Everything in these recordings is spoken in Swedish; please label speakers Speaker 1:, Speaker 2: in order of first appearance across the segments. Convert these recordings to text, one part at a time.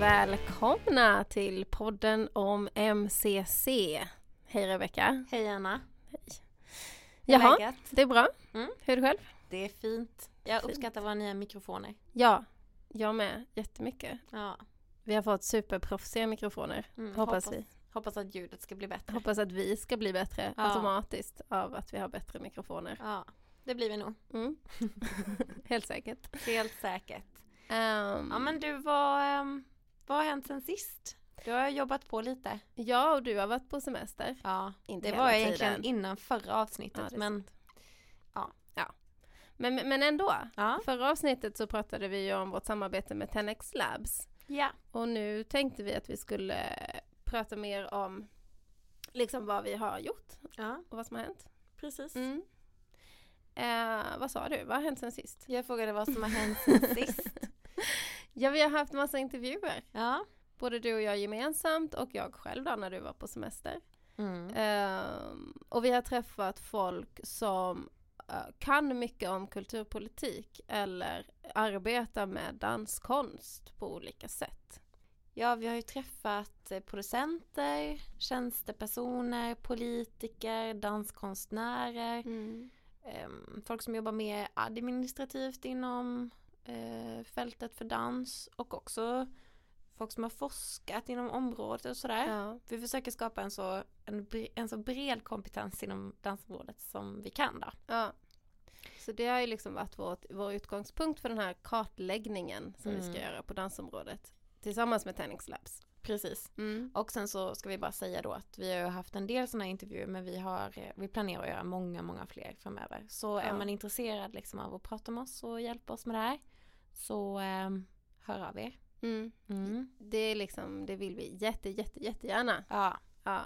Speaker 1: välkomna till podden om MCC. Hej Rebecka.
Speaker 2: Hej Anna! Hur är
Speaker 1: Jaha,
Speaker 2: läget?
Speaker 1: det är bra.
Speaker 2: Mm.
Speaker 1: Hur är det själv?
Speaker 2: Det är fint. Jag uppskattar våra nya mikrofoner.
Speaker 1: Ja, jag med jättemycket.
Speaker 2: Ja.
Speaker 1: Vi har fått superproffsiga mikrofoner.
Speaker 2: Mm,
Speaker 1: hoppas, vi.
Speaker 2: Hoppas att ljudet ska bli bättre.
Speaker 1: Hoppas att vi ska bli bättre
Speaker 2: Ja.
Speaker 1: automatiskt av att vi har bättre mikrofoner.
Speaker 2: Ja, det blir vi nog.
Speaker 1: Mm. Helt säkert.
Speaker 2: Helt säkert.
Speaker 1: Ehm,
Speaker 2: Ja men du, vad, ehm, vad har hänt sen sist? Du har jobbat på lite.
Speaker 1: Ja, och du har varit på semester.
Speaker 2: Ja,
Speaker 1: Inte
Speaker 2: det
Speaker 1: hela
Speaker 2: var
Speaker 1: tiden.
Speaker 2: egentligen innan förra
Speaker 1: Ja,
Speaker 2: avsnittet
Speaker 1: det är
Speaker 2: men
Speaker 1: sant.
Speaker 2: ja.
Speaker 1: ja. Men, men ändå.
Speaker 2: ja.
Speaker 1: Förra avsnittet så pratade vi ju om vårt samarbete med 10x Labs.
Speaker 2: ja.
Speaker 1: Och nu tänkte vi att vi skulle prata mer om liksom vad vi har gjort
Speaker 2: Ja,
Speaker 1: och vad som har hänt.
Speaker 2: precis.
Speaker 1: Mm. Eh, vad sa du? Vad har hänt sen sist?
Speaker 2: Jag frågade vad som har hänt sen sist.
Speaker 1: Ja, vi har haft massa intervjuer.
Speaker 2: Ja.
Speaker 1: Både du och jag gemensamt och jag själv då när du var på semester.
Speaker 2: Mm.
Speaker 1: Ehm, och vi har träffat folk som eh, kan mycket om kulturpolitik eller arbetar med danskonst på olika sätt.
Speaker 2: Ja, vi har ju träffat eh, producenter, tjänstepersoner, politiker, danskonstnärer.
Speaker 1: Mm.
Speaker 2: ehm, folk som jobbar mer administrativt inom eh, fältet för dans och också folk som har forskat inom området och sådär.
Speaker 1: Ja.
Speaker 2: Vi försöker skapa en så, en, bre- en så bred kompetens inom dansområdet som vi kan då.
Speaker 1: ja. Så det har ju liksom varit vårt, vår utgångspunkt för den här kartläggningen som vi ska
Speaker 2: Mm.
Speaker 1: göra på dansområdet tillsammans med Tenix Labs.
Speaker 2: Precis. Och sen så ska vi bara säga då att vi har ju haft en del sådana här intervjuer men vi, har, eh, vi planerar att göra många, många fler framöver. Så är
Speaker 1: Ja.
Speaker 2: man intresserad liksom av att prata med oss och hjälpa oss med det här så ehm, hör av er.
Speaker 1: Mm.
Speaker 2: Mm.
Speaker 1: Det är liksom, det vill vi jätte, jätte, jättegärna.
Speaker 2: Ja,
Speaker 1: Ja.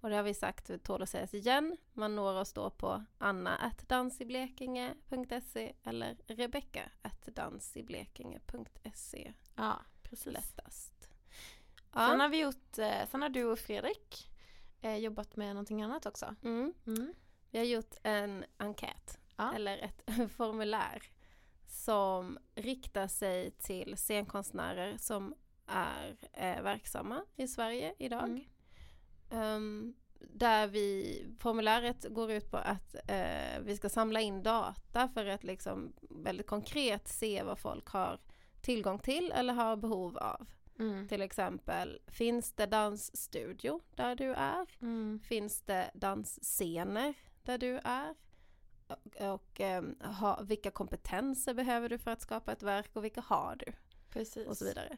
Speaker 1: Och det har vi sagt, det tål att sägas igen. Man når oss då på anna.dansiblekinge.se eller rebecka.dansiblekinge.se
Speaker 2: ja precis.
Speaker 1: lättast.
Speaker 2: Sen
Speaker 1: Ja.
Speaker 2: har vi gjort, eh, sen har du och Fredrik eh, jobbat med någonting annat också.
Speaker 1: Mm.
Speaker 2: Mm.
Speaker 1: Vi har gjort en enkät,
Speaker 2: Ja.
Speaker 1: eller ett formulär, som riktar sig till scenkonstnärer som är eh, verksamma i Sverige idag.
Speaker 2: Mm.
Speaker 1: Ehm, där vi, formuläret går ut på att eh, vi ska samla in data för att liksom väldigt konkret se vad folk har tillgång till eller har behov av.
Speaker 2: Mm.
Speaker 1: Till exempel, finns det dansstudio där du är?
Speaker 2: Mm.
Speaker 1: Finns det dansscener där du är? Och, och ehm, ha, vilka kompetenser behöver du för att skapa ett verk och vilka har du?
Speaker 2: Precis.
Speaker 1: Och så vidare.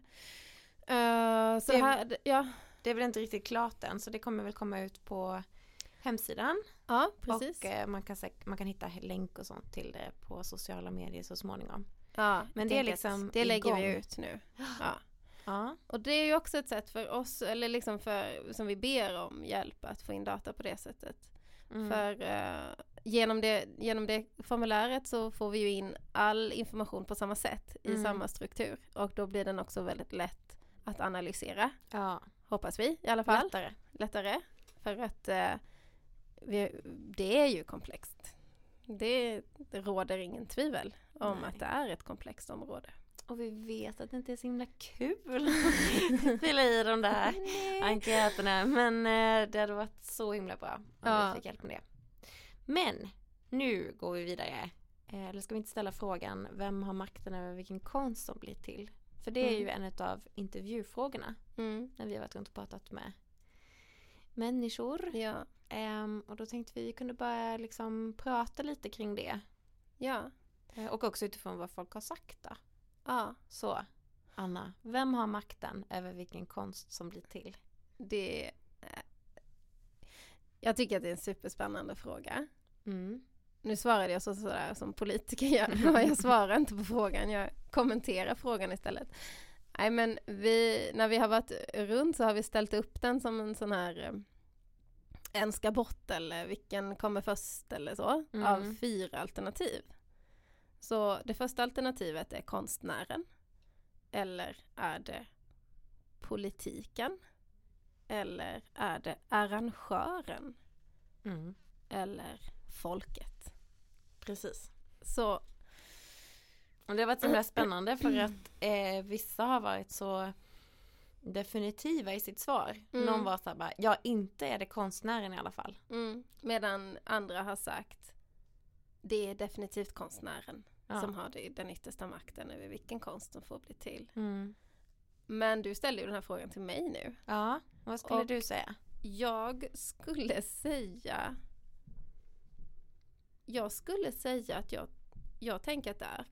Speaker 1: Eh, så
Speaker 2: Det-
Speaker 1: här, ja,
Speaker 2: Det är väl inte riktigt klart än så det kommer väl komma ut på hemsidan.
Speaker 1: ja, precis.
Speaker 2: Och eh, man kan, säk- man kan hitta länk och sånt till det på sociala medier så småningom.
Speaker 1: Ja,
Speaker 2: Men
Speaker 1: jag
Speaker 2: det är
Speaker 1: tänker att
Speaker 2: liksom
Speaker 1: Det lägger vi
Speaker 2: igång.
Speaker 1: ut nu. Ja.
Speaker 2: Ja.
Speaker 1: Och det är ju också ett sätt för oss, eller liksom för, som vi ber om hjälp att få in data på det sättet.
Speaker 2: Mm.
Speaker 1: För eh, genom, det, genom det formuläret så får vi ju in all information på samma sätt i
Speaker 2: Mm.
Speaker 1: samma struktur. Och då blir den också väldigt lätt att analysera,
Speaker 2: ja.
Speaker 1: hoppas vi i alla fall.
Speaker 2: Lättare.
Speaker 1: Lättare. För att eh, vi, det är ju komplext. Det, det råder ingen tvivel om
Speaker 2: Nej.
Speaker 1: att det är ett komplext område.
Speaker 2: Och vi vet att det inte är så himla kul att fylla i de där enkäterna. Men eh, det hade varit så himla bra om
Speaker 1: Ja.
Speaker 2: vi fick hjälp med det. Men nu går vi vidare. Eh, Eller ska vi inte ställa frågan vem har makten över vilken konst som blir till? För det är ju en av intervjufrågorna
Speaker 1: Mm,
Speaker 2: när vi har varit runt och pratat med människor.
Speaker 1: ja,
Speaker 2: Ehm, och då tänkte vi kunde bara liksom prata lite kring det.
Speaker 1: ja,
Speaker 2: Eh, och också utifrån vad folk har sagt då.
Speaker 1: ja.
Speaker 2: Så, Anna, vem har makten över vilken konst som blir till?
Speaker 1: Det... eh, Jag tycker att det är en superspännande fråga.
Speaker 2: Mm.
Speaker 1: Nu svarade jag så, sådär som politiker gör. Jag svarar inte på frågan, jag kommenterar frågan istället. Nej men vi, när vi har varit runt så har vi ställt upp den som en sån här eh, en ska bort eller vilken kommer först eller så.
Speaker 2: Mm.
Speaker 1: Av fyra alternativ. Så det första alternativet är konstnären. Eller är det politiken? Eller är det arrangören?
Speaker 2: Mm.
Speaker 1: Eller folket?
Speaker 2: Precis.
Speaker 1: Så
Speaker 2: Och det har varit så himla spännande för att eh, vissa har varit så definitiva i sitt svar.
Speaker 1: Mm.
Speaker 2: Någon var såhär bara, ja inte är det konstnären i alla fall.
Speaker 1: Mm. Medan andra har sagt det är definitivt konstnären
Speaker 2: Ja.
Speaker 1: som har det- den yttersta makten över vilken konst som får bli till.
Speaker 2: Mm.
Speaker 1: Men du ställde ju den här frågan till mig nu.
Speaker 2: ja. Vad skulle
Speaker 1: Och-
Speaker 2: du säga?
Speaker 1: Jag skulle säga Jag skulle säga att jag, jag tänker att det är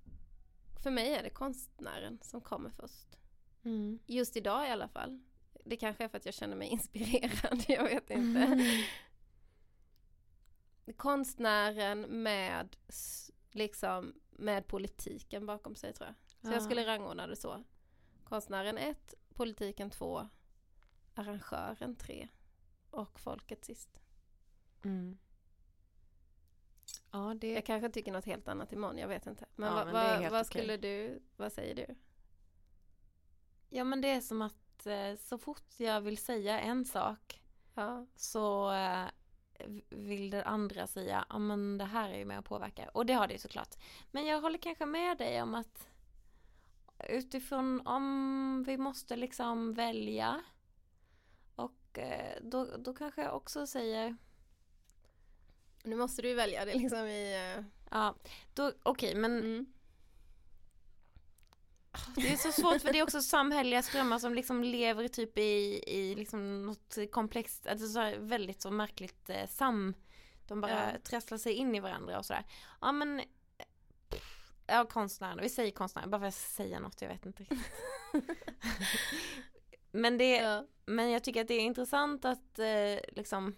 Speaker 1: För mig är det konstnären som kommer först.
Speaker 2: Mm.
Speaker 1: Just idag i alla fall. Det kanske är för att jag känner mig inspirerad, jag vet inte. Konstnären med, s- liksom, med politiken bakom sig tror jag. Så
Speaker 2: Ja.
Speaker 1: jag skulle rangordna det så. Konstnären 1, politiken 2, arrangören 3 och folket sist.
Speaker 2: Mm. Ja, det
Speaker 1: Jag kanske tycker något helt annat imorgon, jag vet inte. Men,
Speaker 2: Ja,
Speaker 1: vad-
Speaker 2: men det är
Speaker 1: vad-
Speaker 2: helt
Speaker 1: vad
Speaker 2: okej.
Speaker 1: skulle du, vad säger du?
Speaker 2: Ja men det är som att eh, så fort jag vill säga en sak
Speaker 1: Ja,
Speaker 2: så eh, v- vill den andra säga ja men det här är ju med och påverkar och det har det ju såklart. Men jag håller kanske med dig om att utifrån om vi måste liksom välja och eh, då, då kanske jag också säger
Speaker 1: nu måste du ju välja det liksom i... eh,
Speaker 2: ja då okej men
Speaker 1: Mm.
Speaker 2: det är så svårt för det är också samhälleliga strömmar som liksom lever typ i, i liksom något komplext, alltså så här väldigt så märkligt eh, sam de bara
Speaker 1: Ja.
Speaker 2: trasslar sig in i varandra och sådär. Ja men eh, pff, Ja konstnären, vi säger konstnären bara för att säga något, jag vet inte riktigt. men, det,
Speaker 1: Ja.
Speaker 2: men jag tycker att det är intressant att eh, liksom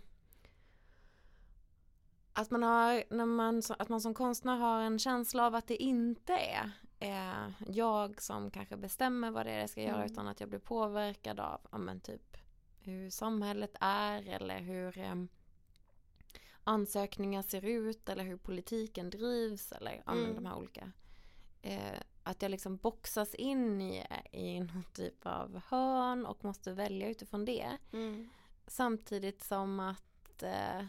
Speaker 2: att man, har, när man, så- att man som konstnär har en känsla av att det inte är eh, jag som kanske bestämmer vad det är jag ska göra
Speaker 1: Mm.
Speaker 2: utan att jag blir påverkad av ja, men typ hur samhället är eller hur eh, ansökningar ser ut eller hur politiken drivs eller ja, men
Speaker 1: Mm.
Speaker 2: de här olika. Eh, att jag liksom boxas in i, i någon typ av hörn och måste välja utifrån det.
Speaker 1: Mm.
Speaker 2: Samtidigt som att eh,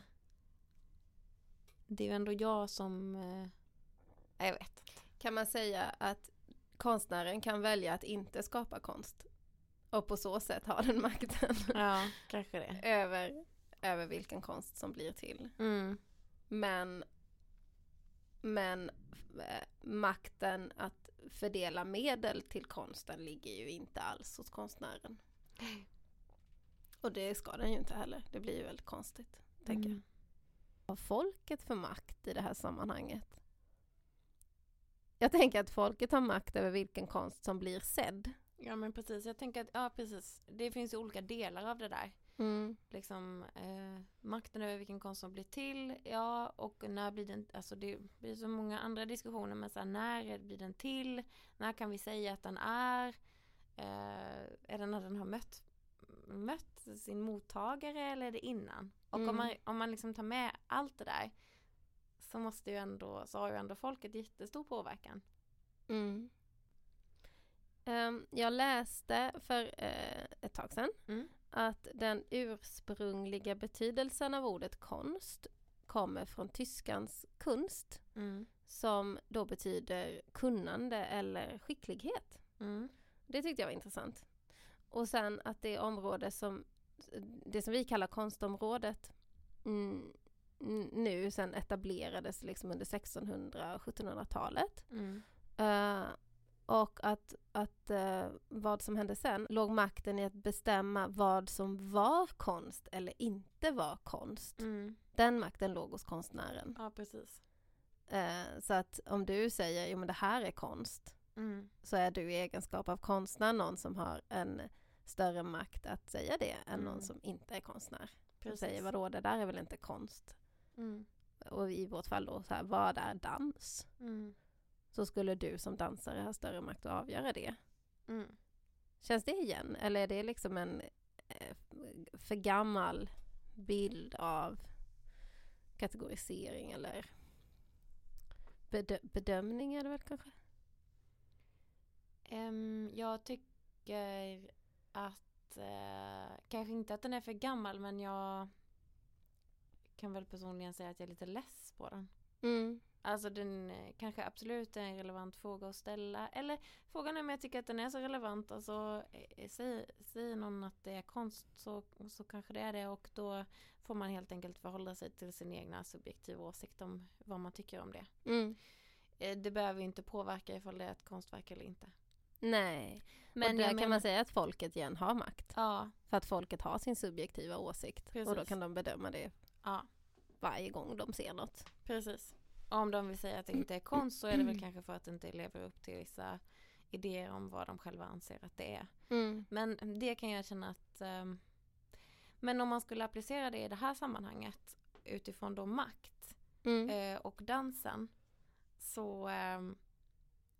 Speaker 2: det är ju ändå jag som... Eh, jag vet.
Speaker 1: kan man säga att konstnären kan välja att inte skapa konst och på så sätt ha den makten
Speaker 2: Ja, kanske det.
Speaker 1: över, över vilken konst som blir till.
Speaker 2: Mm.
Speaker 1: Men, men eh, makten att fördela medel till konsten ligger ju inte alls hos konstnären. Och det ska den ju inte heller, det blir ju väldigt konstigt. Tänker jag.
Speaker 2: Mm.
Speaker 1: Vad har folket för makt i det här sammanhanget? Jag tänker att folket har makt över vilken konst som blir sedd.
Speaker 2: Ja men precis, jag tänker att ja, precis. det finns ju olika delar av det där. Liksom, eh, makten över vilken konst som blir till, ja och när blir den, alltså det blir så många andra diskussioner men så här, när blir den till, när kan vi säga att den är, eh, är det när den har mött, mött sin mottagare eller är det innan? Och
Speaker 1: Mm.
Speaker 2: om man, om man liksom tar med allt det där så måste ju ändå, så har ju ändå folket jättestor påverkan.
Speaker 1: Mm. Ehm, jag läste för eh, ett tag sedan
Speaker 2: Mm.
Speaker 1: att den ursprungliga betydelsen av ordet konst kommer från tyskans kunst
Speaker 2: Mm.
Speaker 1: som då betyder kunnande eller skicklighet.
Speaker 2: Mm.
Speaker 1: Det tyckte jag var intressant. Och sen att det område som, det som vi kallar konstområdet mm, n- nu sen etablerades liksom under 1600 och 1700-talet.
Speaker 2: Mm.
Speaker 1: Eh, och att, att eh, vad som hände sen låg makten i att bestämma vad som var konst eller inte var konst.
Speaker 2: Mm.
Speaker 1: Den makten låg hos konstnären.
Speaker 2: Ja precis.
Speaker 1: Eh, så att om du säger, jo men det här är konst,
Speaker 2: Mm.
Speaker 1: så är du i egenskap av konstnär någon som har en större makt att säga det än
Speaker 2: Mm.
Speaker 1: någon som inte är konstnär. Som
Speaker 2: Precis.
Speaker 1: säger vadå, det där är väl inte konst?
Speaker 2: Mm.
Speaker 1: Och i vårt fall då, så här, vad är dans?
Speaker 2: Mm.
Speaker 1: Så skulle du som dansare ha större makt att avgöra det.
Speaker 2: Mm.
Speaker 1: Känns det igen? Eller är det liksom en eh, för gammal bild av kategorisering eller bedö- bedömning är det väl kanske?
Speaker 2: Ehm, jag tycker att, eh, kanske inte att den är för gammal men jag kan väl personligen säga att jag är lite less på den. Alltså den eh, kanske absolut är en relevant fråga att ställa. Eller frågan är om jag tycker att den är så relevant. Alltså eh, säger, säger någon att det är konst så, så kanske det är det och då får man helt enkelt förhålla sig till sin egna subjektiva åsikt om vad man tycker om det.
Speaker 1: Mm.
Speaker 2: Eh, Det behöver ju inte påverka ifall det är ett konstverk eller inte.
Speaker 1: Nej, men och
Speaker 2: jag
Speaker 1: där kan
Speaker 2: menar-
Speaker 1: man säga att folket igen har makt.
Speaker 2: Ja,
Speaker 1: För att folket har sin subjektiva åsikt och då
Speaker 2: Precis.
Speaker 1: kan de bedöma det
Speaker 2: ja,
Speaker 1: varje gång de ser något.
Speaker 2: precis. Och om de vill säga att det inte är konst så är det väl kanske för att det inte lever upp till vissa idéer om vad de själva anser att det är. Mm, Men det kan jag känna att ehm, Men om man skulle applicera det i det här sammanhanget utifrån då makt
Speaker 1: Mm.
Speaker 2: eh, och dansen så, ehm,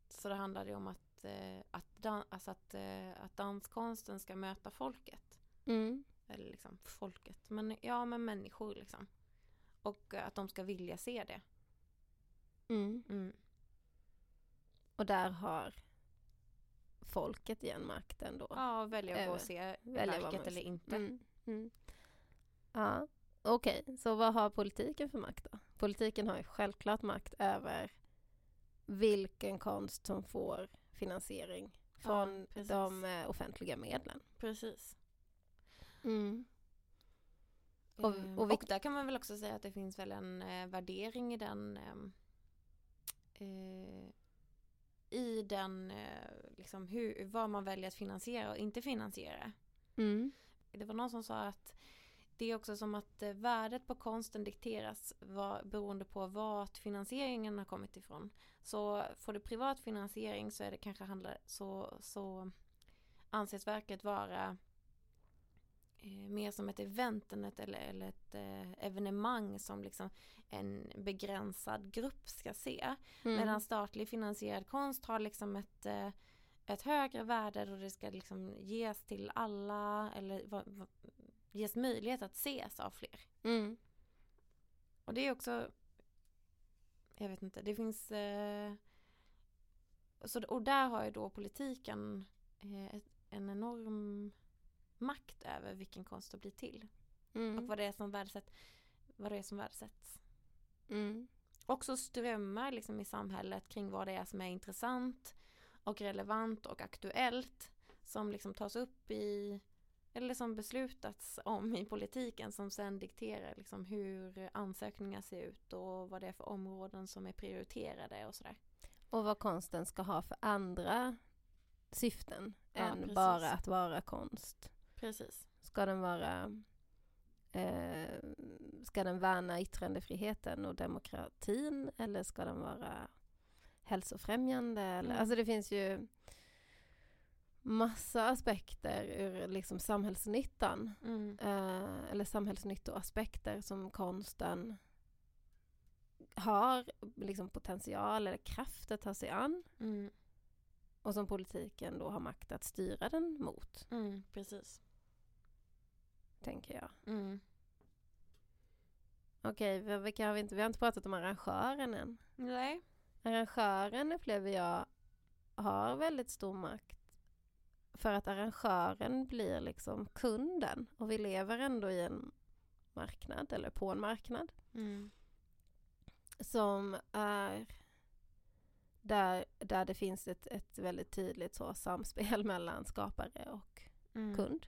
Speaker 2: så det handlar det om att, eh, att, dan- alltså att, eh, att danskonsten ska möta folket.
Speaker 1: Mm.
Speaker 2: Eller liksom folket, men ja men människor liksom. Och eh, att de ska vilja se det.
Speaker 1: Mm. Och där har folket igen makten då.
Speaker 2: Ja, välja att gå
Speaker 1: Över.
Speaker 2: och se
Speaker 1: Eh, Välja vad man
Speaker 2: verket
Speaker 1: vill
Speaker 2: eller
Speaker 1: se.
Speaker 2: inte.
Speaker 1: Mm. Mm. Ja, okej. Så vad har politiken för makt då? Politiken har ju självklart makt över vilken konst som får finansiering från
Speaker 2: precis.
Speaker 1: de eh, offentliga medlen.
Speaker 2: Precis. Mm,
Speaker 1: Och-
Speaker 2: Eh,
Speaker 1: och
Speaker 2: och,
Speaker 1: vilk-
Speaker 2: där kan man väl också säga att det finns väl en eh, värdering i den ehm, eh, i den eh, liksom hur, vad man väljer att finansiera och inte finansiera.
Speaker 1: Mm.
Speaker 2: Det var någon som sa att det är också som att eh, värdet på konsten dikteras var, beroende på vart finansieringen har kommit ifrån. Så får du privat finansiering så är det kanske handlar, så, så anses verket vara eh, mer som ett event än ett, eller, eller ett eh, evenemang som liksom en begränsad grupp ska se.
Speaker 1: Mm.
Speaker 2: Medan statlig finansierad konst har liksom ett, eh, ett högre värde och det ska liksom ges till alla eller va, va, ges möjlighet att ses av fler.
Speaker 1: Mm.
Speaker 2: Och det är också, jag vet inte, det finns, eh, så, och där har ju då politiken eh, ett, en enorm makt över vilken konst det blir till och
Speaker 1: Mm.
Speaker 2: vad det är som värdesätts. Vad det är som värdesätts.
Speaker 1: Mm.
Speaker 2: också strömmar liksom i samhället kring vad det är som är intressant och relevant och aktuellt som liksom tas upp i eller som beslutats om i politiken som sen dikterar liksom hur ansökningar ser ut och vad det är för områden som är prioriterade och sådär.
Speaker 1: Och vad konsten ska ha för andra syften
Speaker 2: Ja,
Speaker 1: än
Speaker 2: precis.
Speaker 1: bara att vara konst.
Speaker 2: Precis.
Speaker 1: Ska den vara eh, Ska den värna yttrandefriheten och demokratin eller ska den vara hälsofrämjande? Eller,
Speaker 2: Mm.
Speaker 1: Alltså det finns ju massa aspekter ur liksom samhällsnyttan
Speaker 2: Mm.
Speaker 1: eh, eller samhällsnyttoaspekter som konsten har liksom potential eller kraft att ta sig an
Speaker 2: Mm.
Speaker 1: och som politiken då har makt att styra den mot,
Speaker 2: Mm. Precis.
Speaker 1: tänker jag.
Speaker 2: Mm.
Speaker 1: Okej, vi- vilka har vi, inte, vi har inte pratat om arrangören än.
Speaker 2: Nej.
Speaker 1: Arrangören upplever jag har väldigt stor makt för att arrangören blir liksom kunden och vi lever ändå i en marknad eller på en marknad
Speaker 2: Mm.
Speaker 1: som är där, där det finns ett, ett väldigt tydligt så samspel mellan skapare och
Speaker 2: Mm.
Speaker 1: kund.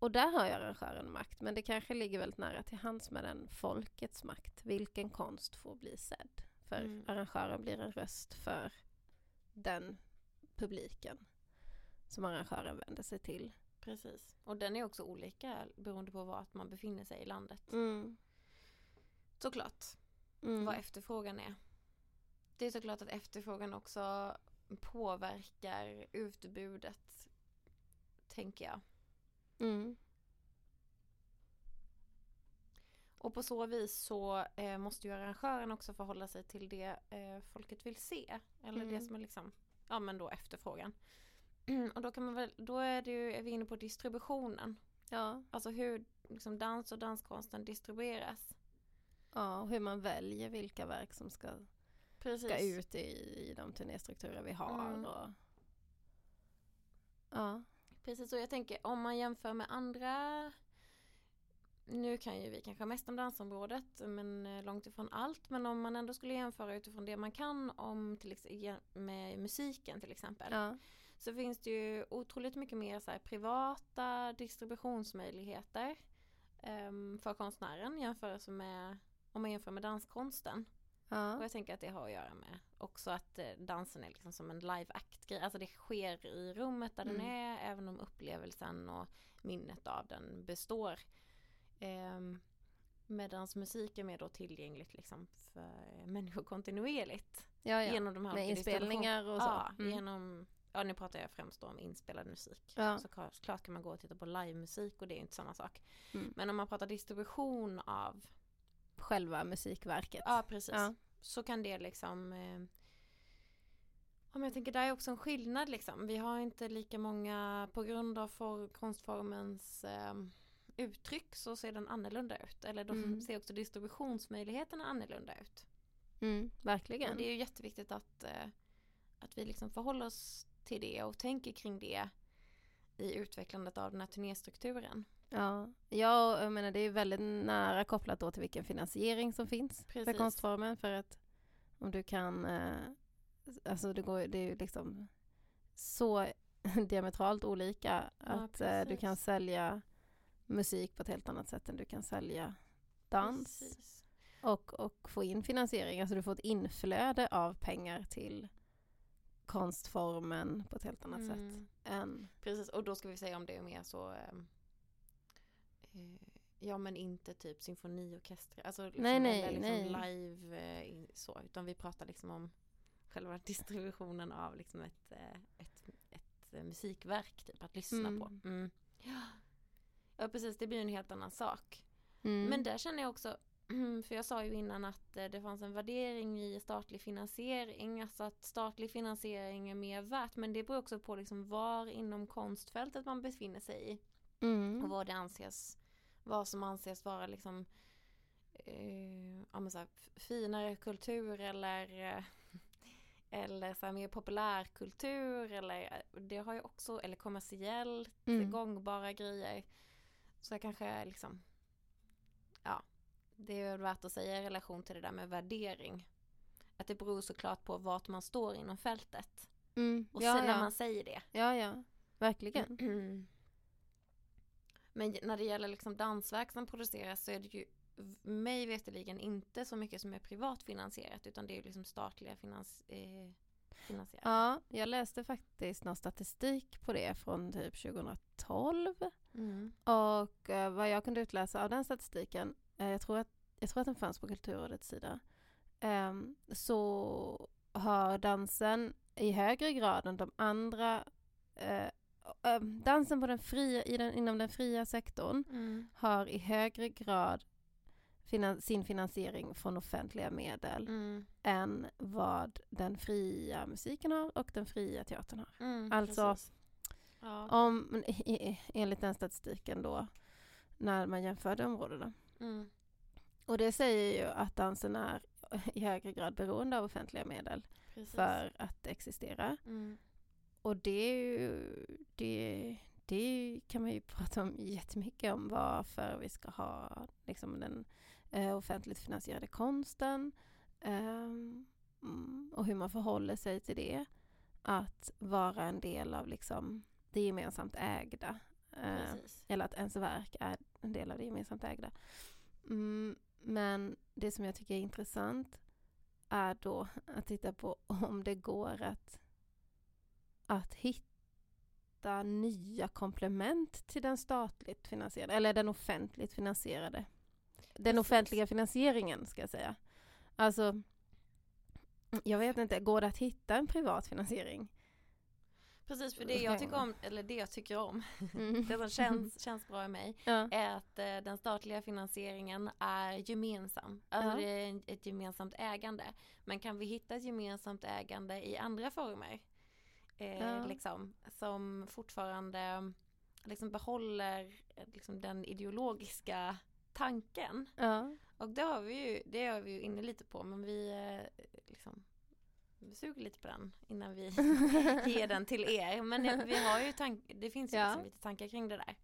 Speaker 1: Och där har ju arrangören makt, men det kanske ligger väldigt nära till hands med den folkets makt. Vilken konst får bli sedd? För
Speaker 2: Mm.
Speaker 1: arrangören blir en röst för den publiken som arrangören vänder sig till.
Speaker 2: Precis. Och den är också olika beroende på vart man befinner sig i landet.
Speaker 1: Mm.
Speaker 2: Såklart.
Speaker 1: Mm.
Speaker 2: vad efterfrågan är. Det är såklart att efterfrågan också påverkar utbudet, tänker jag.
Speaker 1: Mm.
Speaker 2: Och på så vis så eh, måste ju arrangören också förhålla sig till det eh, folket vill se. Eller det
Speaker 1: Mm.
Speaker 2: som är liksom, ja men då efterfrågan. Och då kan man väl, då är, det ju, är vi inne på distributionen.
Speaker 1: Ja.
Speaker 2: Alltså hur liksom, dans och danskonsten distribueras.
Speaker 1: ja, och hur man väljer vilka verk som ska,
Speaker 2: Precis.
Speaker 1: ska ut i, i de turnéstrukturer vi har.
Speaker 2: Mm.
Speaker 1: Och... Ja.
Speaker 2: Precis, och jag tänker om man jämför med andra nu kan ju vi kanske mest om dansområdet men eh, långt ifrån allt. Men om man ändå skulle jämföra utifrån det man kan om till ex- ge- med musiken till exempel.
Speaker 1: Ja.
Speaker 2: Så finns det ju otroligt mycket mer så här, privata distributionsmöjligheter ehm, för konstnären jämfört med om man jämför med danskonsten. Och
Speaker 1: Ja.
Speaker 2: jag tänker att det har att göra med också att eh, dansen är liksom som en live act-grej. Alltså det sker i rummet där den
Speaker 1: Mm.
Speaker 2: är även om upplevelsen och minnet av den består. Um, Medan musik är mer då tillgängligt liksom för människor kontinuerligt.
Speaker 1: ja, ja.
Speaker 2: Genom de här
Speaker 1: Med
Speaker 2: olika
Speaker 1: inspelningar och så.
Speaker 2: Ja,
Speaker 1: Mm.
Speaker 2: genom, ja, nu pratar jag främst då om inspelad musik.
Speaker 1: Ja.
Speaker 2: Så klart- klart kan man gå och titta på livemusik och det är inte samma sak.
Speaker 1: Mm.
Speaker 2: Men om man pratar distribution av,
Speaker 1: Själva musikverket.
Speaker 2: ja precis,
Speaker 1: Ja.
Speaker 2: så kan det liksom eh, Ja, men jag tänker där är också en skillnad liksom. Vi har inte lika många, på grund av for, konstformens eh, uttryck så ser den annorlunda ut. Eller de
Speaker 1: Mm.
Speaker 2: ser också distributionsmöjligheterna annorlunda ut.
Speaker 1: Mm, verkligen.
Speaker 2: Och det är ju jätteviktigt att, eh, att vi liksom förhåller oss till det och tänker kring det i utvecklandet av den här turnéstrukturen.
Speaker 1: Ja, ja och jag menar det är väldigt nära kopplat då till vilken finansiering som finns för
Speaker 2: Precis.
Speaker 1: konstformen för att om du kan, eh, alltså det, går, det är ju liksom så diametralt olika att eh, du
Speaker 2: precis.
Speaker 1: kan sälja musik på ett helt annat sätt än du kan sälja dans
Speaker 2: Precis.
Speaker 1: och, och få in finansiering, alltså du får ett inflöde av pengar till konstformen på ett helt annat sätt
Speaker 2: Mm.
Speaker 1: än,
Speaker 2: Precis, och då ska vi säga om det är mer så ehm, eh, Ja men inte typ symfoniorkester, alltså liksom,
Speaker 1: Nej, nej,
Speaker 2: eller liksom
Speaker 1: nej.
Speaker 2: live eh, in- så, utan vi pratar liksom om själva distributionen av liksom ett, eh, ett, ett eh, musikverk typ att lyssna
Speaker 1: Mm.
Speaker 2: på. Mm. Ja. ja precis, det blir ju en helt annan sak.
Speaker 1: mm.
Speaker 2: Men där känner jag också, mm, för jag sa ju innan att eh, det fanns en värdering i statlig finansiering, alltså att statlig finansiering är mer värt, men det beror också på liksom var inom konstfältet man befinner sig i och
Speaker 1: mm.
Speaker 2: vad det anses, vad som anses vara liksom eh, ja, men så här, f- finare kultur eller eh, eller så här mer populärkultur eller eh, det har ju också, eller kommersiell
Speaker 1: Mm.
Speaker 2: gångbara grejer. Så jag kanske liksom, ja, det är väl värt att säga i relation till det där med värdering. Att det beror såklart på vart man står inom fältet.
Speaker 1: Mm.
Speaker 2: Och
Speaker 1: Ja,
Speaker 2: sen när
Speaker 1: ja.
Speaker 2: man säger det.
Speaker 1: Ja, ja. Verkligen.
Speaker 2: Men när det gäller liksom dansverk som produceras så är det ju v- mig veterligen inte så mycket som är privat finansierat utan det är ju liksom statliga finans, eh, finansierat.
Speaker 1: Ja, jag läste faktiskt någon statistik på det från typ 2012.
Speaker 2: Mm.
Speaker 1: Och eh, vad jag kunde utläsa av den statistiken, eh, jag, tror att, jag tror att den fanns på Kulturrådets sida, ehm, så har dansen i högre grad än de andra, eh, eh, dansen på den fria, i den, inom den fria sektorn
Speaker 2: Mm.
Speaker 1: har i högre grad finan, sin finansiering från offentliga medel.
Speaker 2: Mm.
Speaker 1: än vad den fria musiken har och den fria teatern har.
Speaker 2: Mm.
Speaker 1: Alltså-
Speaker 2: precis. Ja.
Speaker 1: Om, men i- i- enligt den statistiken då, när man jämförde områdena.
Speaker 2: Mm.
Speaker 1: Och det säger ju att dansen är i högre grad beroende av offentliga medel
Speaker 2: Precis.
Speaker 1: för att existera.
Speaker 2: Mm.
Speaker 1: Och det, är ju, det, det kan man ju prata om jättemycket om varför vi ska ha liksom, den eh, offentligt finansierade konsten ehm, mm, och hur man förhåller sig till det. Att vara en del av liksom, det gemensamt ägda. Eh,
Speaker 2: Precis.
Speaker 1: eller att ens verk är en del av det gemensamt ägda. Mm, men det som jag tycker är intressant är då att titta på om det går att, att hitta nya komplement till den statligt finansierade, eller den offentligt finansierade. Den
Speaker 2: Precis.
Speaker 1: offentliga finansieringen ska jag säga. Alltså, jag vet inte, går det att hitta en privat finansiering?
Speaker 2: Precis, för det jag tycker om, eller det jag tycker om, det som känns, känns bra i mig
Speaker 1: Mm. Ja.
Speaker 2: är att eh, den statliga finansieringen är gemensam. Alltså
Speaker 1: Ja.
Speaker 2: det är en- ett gemensamt ägande. Men kan vi hitta ett gemensamt ägande i andra former? Eh,
Speaker 1: Ja.
Speaker 2: liksom, som fortfarande liksom, behåller eh, liksom, den ideologiska tanken.
Speaker 1: Ja.
Speaker 2: Och det har vi ju, det är vi ju inne lite på men vi eh, liksom, suger lite på den innan vi ger den till er. Men eh, vi har ju tank- det finns ju
Speaker 1: Ja.
Speaker 2: liksom lite tankar kring det där.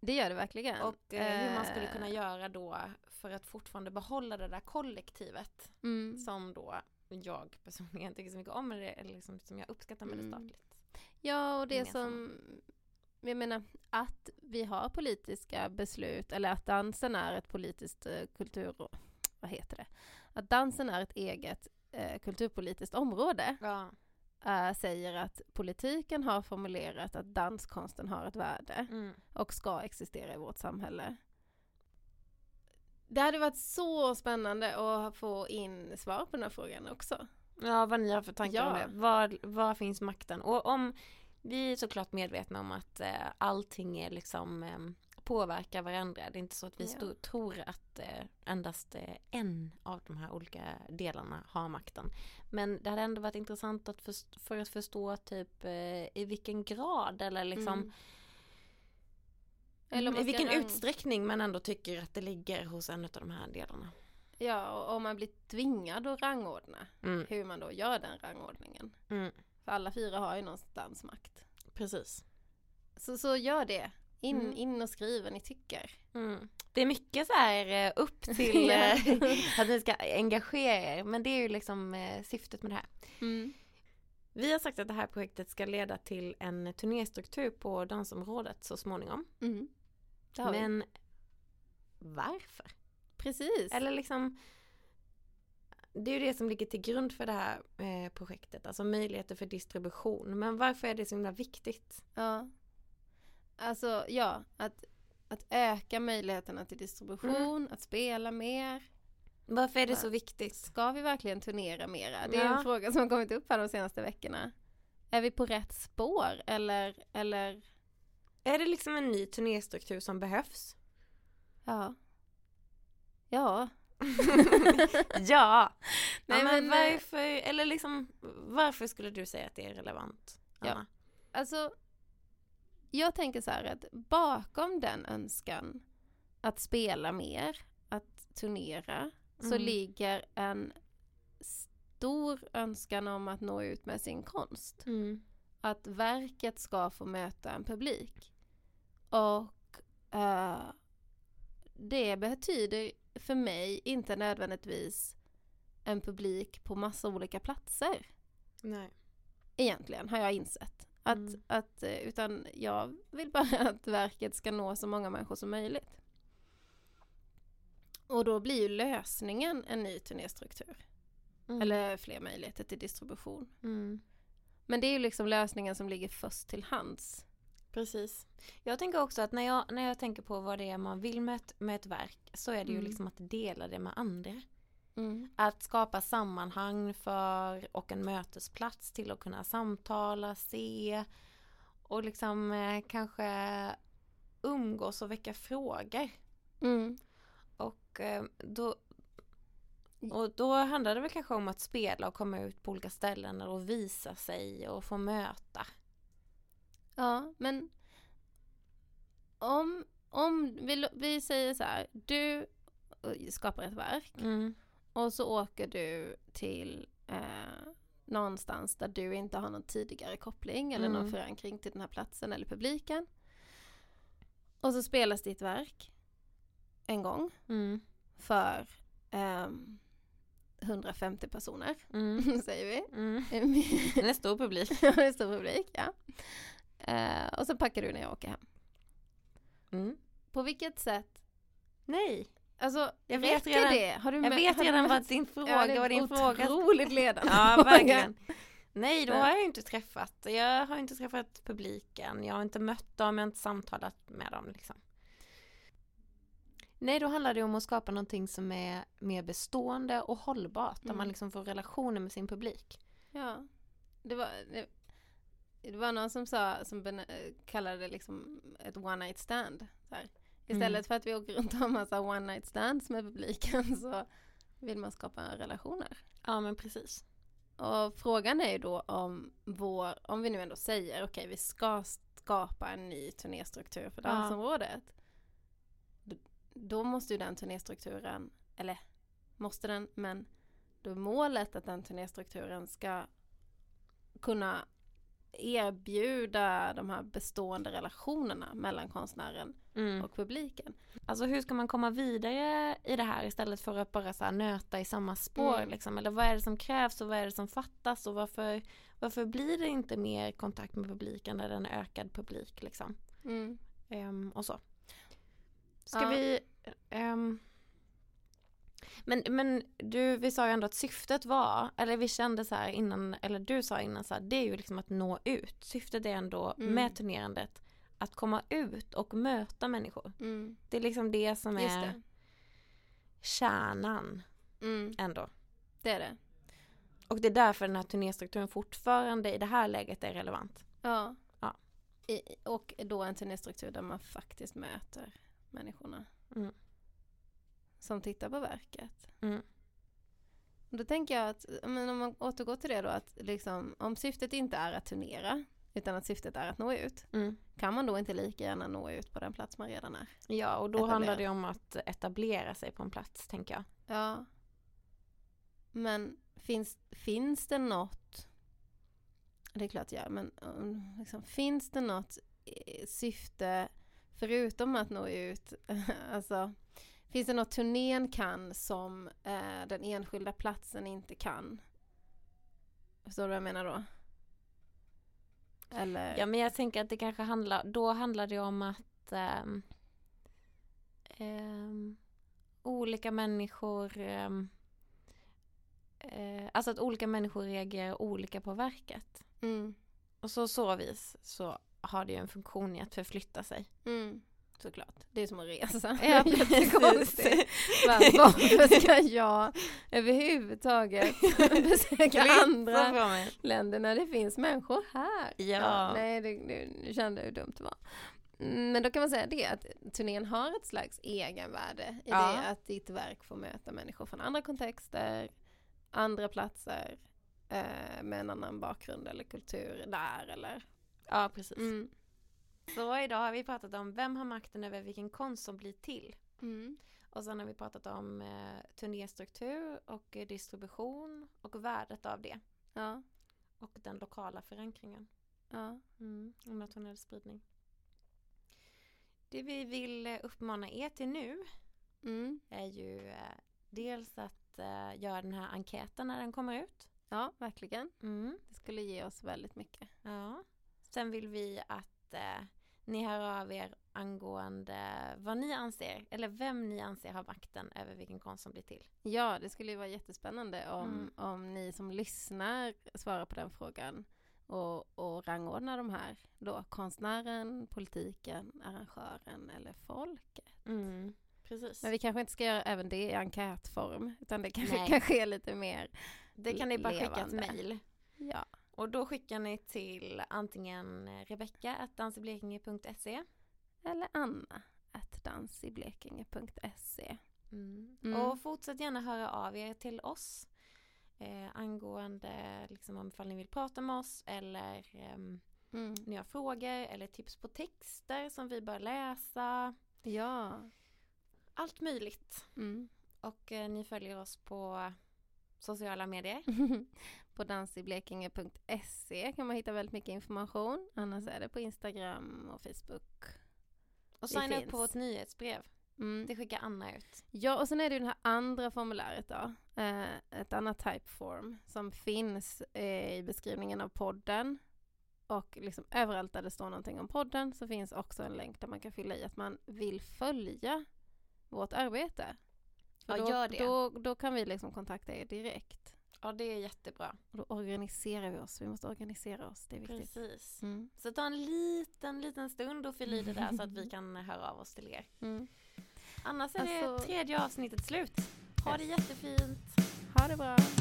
Speaker 1: Det gör det verkligen.
Speaker 2: Och eh, hur man skulle kunna göra då för att fortfarande behålla det där kollektivet
Speaker 1: Mm.
Speaker 2: som då jag personligen tycker så mycket om eller eller liksom, som jag uppskattar med det
Speaker 1: Mm.
Speaker 2: statligt.
Speaker 1: Ja, och det
Speaker 2: gemensamma.
Speaker 1: som... Jag menar, att vi har politiska beslut, eller att dansen är ett politiskt eh, kultur... Vad heter det? Att dansen är ett eget eh, kulturpolitiskt område
Speaker 2: Ja.
Speaker 1: eh, säger att politiken har formulerat att danskonsten har ett värde
Speaker 2: Mm.
Speaker 1: och ska existera i vårt samhälle. Det hade varit så spännande att få in svar på den här frågan också.
Speaker 2: Ja, vad ni har för tankar om
Speaker 1: Ja.
Speaker 2: det. Var, var finns makten? Och om vi är såklart medvetna om att eh, allting är liksom eh, påverkar varandra. Det är inte så att vi
Speaker 1: Ja.
Speaker 2: sto- tror att eh, endast eh, en av de här olika delarna har makten. Men det hade ändå varit intressant att först- för att förstå typ eh, i vilken grad eller liksom mm,
Speaker 1: Mm. Eller om
Speaker 2: i
Speaker 1: man ska
Speaker 2: vilken
Speaker 1: rang-
Speaker 2: utsträckning man ändå tycker att det ligger hos en av de här delarna.
Speaker 1: Ja, och om man blir tvingad att rangordna,
Speaker 2: Mm,
Speaker 1: hur man då gör den rangordningen.
Speaker 2: mm,
Speaker 1: För alla fyra har ju någonstans makt.
Speaker 2: precis.
Speaker 1: Så, så gör det. In,
Speaker 2: Mm.
Speaker 1: in och skriv vad ni tycker.
Speaker 2: Mm. Det är mycket så här eh, upp till
Speaker 1: Ja.
Speaker 2: eh, att ni ska engagera er. Men det är ju liksom eh, syftet med det här. Vi har sagt att det här projektet ska leda till en turnéstruktur på dansområdet så småningom.
Speaker 1: Mm. Det har vi.
Speaker 2: Men varför?
Speaker 1: Precis.
Speaker 2: Eller liksom det är ju det som ligger till grund för det här eh, projektet, alltså möjligheter för distribution. Men varför är det så himla viktigt?
Speaker 1: Ja. Alltså, ja. Att, att öka möjligheterna till distribution,
Speaker 2: Mm.
Speaker 1: att spela mer.
Speaker 2: Varför är det så viktigt?
Speaker 1: Ska vi verkligen turnera mera? Det är
Speaker 2: Ja.
Speaker 1: en fråga som har kommit upp här de senaste veckorna. Är vi på rätt spår eller, eller
Speaker 2: Är det liksom en ny turnéstruktur som behövs?
Speaker 1: ja. Ja.
Speaker 2: ja.
Speaker 1: Nej,
Speaker 2: ja, men,
Speaker 1: men, eh,
Speaker 2: varför, eller liksom, varför skulle du säga att det är relevant?
Speaker 1: Ja.
Speaker 2: Anna?
Speaker 1: Alltså, jag tänker så här att bakom den önskan att spela mer, att turnera, så
Speaker 2: Mm.
Speaker 1: ligger en stor önskan om att nå ut med sin konst.
Speaker 2: Mm.
Speaker 1: Att verket ska få möta en publik. Och eh, det betyder för mig inte nödvändigtvis en publik på massa olika platser
Speaker 2: Nej.
Speaker 1: egentligen har jag insett. Att,
Speaker 2: Mm.
Speaker 1: att, eh, utan jag vill bara att verket ska nå så många människor som möjligt. Och då blir ju lösningen en ny turnéstruktur.
Speaker 2: Mm.
Speaker 1: Eller fler möjligheter till distribution.
Speaker 2: Mm.
Speaker 1: Men det är ju liksom lösningen som ligger först till hands.
Speaker 2: Precis. Jag tänker också att när jag, när jag tänker på vad det är man vill med ett, med ett verk så är det ju
Speaker 1: Mm.
Speaker 2: liksom att dela det med andra. Att skapa sammanhang för och en mötesplats till att kunna samtala, se och liksom eh, kanske umgås och väcka frågor.
Speaker 1: Mm.
Speaker 2: Och eh, då, och då handlar det väl kanske om att spela och komma ut på olika ställen och visa sig och få möta.
Speaker 1: Ja, men om, om vi, vi säger så här, du eh, skapar ett verk. Och så åker du till eh, någonstans där du inte har någon tidigare koppling eller någon
Speaker 2: Mm.
Speaker 1: förankring till den här platsen eller publiken. Och så spelas ditt verk en gång
Speaker 2: Mm.
Speaker 1: för ehm, 150 personer,
Speaker 2: Mm.
Speaker 1: säger vi.
Speaker 2: Mm. Det är en stor publik.
Speaker 1: En stor publik, ja. Eh, och så packar du när jag åker hem.
Speaker 2: Mm.
Speaker 1: På vilket sätt,
Speaker 2: Nej,
Speaker 1: alltså
Speaker 2: Jag vet
Speaker 1: räcker
Speaker 2: redan-
Speaker 1: det? Har du
Speaker 2: jag
Speaker 1: mö-
Speaker 2: vet
Speaker 1: har du
Speaker 2: redan
Speaker 1: mött-
Speaker 2: vad din
Speaker 1: Ja,
Speaker 2: fråga
Speaker 1: det är
Speaker 2: var. Din fråga.
Speaker 1: Otroligt ledande.
Speaker 2: Ja,
Speaker 1: fråga.
Speaker 2: verkligen. Nej, då
Speaker 1: Nej.
Speaker 2: har jag ju inte träffat. Jag har ju inte träffat publiken. Jag har inte mött dem, jag har inte samtalat med dem. Liksom. Nej, då handlar det om att skapa någonting som är mer bestående och hållbart. Där
Speaker 1: Mm.
Speaker 2: man liksom får relationer med sin publik.
Speaker 1: Ja, det var, det, det var någon som sa, som ben, kallade det liksom ett one night stand. Så här. Istället
Speaker 2: Mm.
Speaker 1: för att vi åker runt och har massa one night stands med publiken så vill man skapa relationer.
Speaker 2: Ja, men precis.
Speaker 1: Och frågan är ju då om vår, om vi nu ändå säger okej vi ska skapa en ny turnéstruktur för
Speaker 2: Ja.
Speaker 1: dansområdet. Då, då måste ju den turnéstrukturen, eller måste den, men då är målet att den turnéstrukturen ska kunna erbjuda de här bestående relationerna mellan konstnären
Speaker 2: Mm.
Speaker 1: och publiken.
Speaker 2: Alltså hur ska man komma vidare i det här istället för att bara så här nöta i samma spår
Speaker 1: Mm.
Speaker 2: liksom? Eller vad är det som krävs och vad är det som fattas och varför, varför blir det inte mer kontakt med publiken eller en ökad publik liksom?
Speaker 1: Mm.
Speaker 2: Ehm, och så. Ska
Speaker 1: Ja.
Speaker 2: vi... ehm, men, men du, vi sa ju ändå att syftet var, eller vi kände så här innan, eller du sa innan så här, det är ju liksom att nå ut. Syftet är ändå
Speaker 1: Mm.
Speaker 2: med turnerandet att komma ut och möta människor.
Speaker 1: Mm.
Speaker 2: Det är liksom det som
Speaker 1: Just
Speaker 2: är
Speaker 1: det.
Speaker 2: kärnan
Speaker 1: Mm.
Speaker 2: ändå.
Speaker 1: Det är det.
Speaker 2: Och det är därför den här turnéstrukturen fortfarande i det här läget är relevant.
Speaker 1: Ja.
Speaker 2: Ja.
Speaker 1: I, och då en turnéstruktur där man faktiskt möter människorna.
Speaker 2: Mm.
Speaker 1: Som tittar på verket.
Speaker 2: Mm.
Speaker 1: Och Då tänker jag att, ja, men om man återgår till det då, att liksom, om syftet inte är att turnera, utan att syftet är att nå ut,
Speaker 2: Mm.
Speaker 1: kan man då inte lika gärna nå ut på den plats man redan är?
Speaker 2: Ja, och då
Speaker 1: Etablera.
Speaker 2: handlar det om att etablera sig på en plats, tänker jag.
Speaker 1: Ja. Men finns, finns det något, det är klart ja, men um, liksom, finns det något eh, syfte förutom att nå ut, alltså finns det något turnén kan som eh, den enskilda platsen inte kan? Förstår du vad jag menar då? Eller?
Speaker 2: Ja men jag tänker att det kanske handlar, då handlar det om att ehm, ehm, olika människor ehm, eh, Alltså att olika människor reagerar olika på verket.
Speaker 1: Mm,
Speaker 2: Och så så vis så har det ju en funktion i att förflytta sig.
Speaker 1: mm, såklart. Det är som att resa.
Speaker 2: Ja,
Speaker 1: Jättekonstigt.
Speaker 2: precis.
Speaker 1: Bara, Varför ska jag överhuvudtaget besöka
Speaker 2: Glittra
Speaker 1: andra
Speaker 2: på mig.
Speaker 1: länder när det finns människor här?
Speaker 2: Ja.
Speaker 1: nej, det, det, nu kände jag hur dumt det var. Mm, Men då kan man säga det att turnén har ett slags egenvärde i
Speaker 2: Ja.
Speaker 1: det att ditt verk får möta människor från andra kontexter, andra platser, eh, med en annan bakgrund eller kultur där eller.
Speaker 2: Ja precis.
Speaker 1: Mm.
Speaker 2: Så idag har vi pratat om vem har makten över vilken konst som blir till.
Speaker 1: Mm.
Speaker 2: Och sen har vi pratat om eh, turnéstruktur och eh, distribution och värdet av det.
Speaker 1: Ja,
Speaker 2: och den lokala förankringen.
Speaker 1: ja.
Speaker 2: Och nationell spridning. Det vi vill eh, uppmana er till nu
Speaker 1: Mm.
Speaker 2: är ju eh, dels att eh, göra den här enkäten när den kommer ut. Mm,
Speaker 1: ja, verkligen. Det skulle ge oss väldigt mycket.
Speaker 2: Ja. Sen vill vi att eh, ni hör av er angående vad ni anser, eller vem ni anser har makten över vilken konst som blir till.
Speaker 1: Ja, det skulle ju vara jättespännande om,
Speaker 2: Mm.
Speaker 1: om ni som lyssnar svarar på den frågan och, och rangordnar de här då, konstnären, politiken, arrangören eller folk.
Speaker 2: Precis.
Speaker 1: Men vi kanske inte ska göra även det i enkätform, utan det kanske,
Speaker 2: Nej.
Speaker 1: kanske är lite mer,
Speaker 2: det kan ni bara skicka ett
Speaker 1: levande.
Speaker 2: mejl.
Speaker 1: ja.
Speaker 2: Och då skickar ni till antingen rebecka.dansiblekinge.se
Speaker 1: Eller Anna, att dansiblekingen.se. Mm.
Speaker 2: Och fortsätt gärna höra av er till oss eh, angående liksom, om ifall ni vill prata med oss eller ehm,
Speaker 1: Mm.
Speaker 2: ni har frågor eller tips på texter som vi bör läsa.
Speaker 1: Ja.
Speaker 2: Allt möjligt.
Speaker 1: Mm.
Speaker 2: Och eh, ni följer oss på sociala medier.
Speaker 1: på dansiblekingen.se kan man hitta väldigt mycket information.
Speaker 2: Mm.
Speaker 1: Annars är det på Instagram och Facebook.
Speaker 2: Och
Speaker 1: Vi
Speaker 2: signa upp
Speaker 1: finns.
Speaker 2: på vårt nyhetsbrev.
Speaker 1: Mm.
Speaker 2: Det skickar Anna ut.
Speaker 1: Ja, och sen är det ju det här andra formuläret då. Eh, ett annat typeform som finns eh, i beskrivningen av podden. Och liksom överallt där det står någonting om podden så finns också en länk där man kan fylla i att man vill följa vårt arbete. För
Speaker 2: Ja,
Speaker 1: då,
Speaker 2: gör det.
Speaker 1: Då, då kan vi liksom kontakta er direkt.
Speaker 2: Ja, det är jättebra.
Speaker 1: Och då organiserar vi oss. Vi måste organisera oss, det är viktigt.
Speaker 2: Precis.
Speaker 1: Mm.
Speaker 2: Så ta en liten, liten stund och fyll i det där så att vi kan höra av oss till er.
Speaker 1: Mm.
Speaker 2: Annars är det
Speaker 1: Alltså-
Speaker 2: tredje avsnittet slut. Ha det jättefint.
Speaker 1: Ha det bra!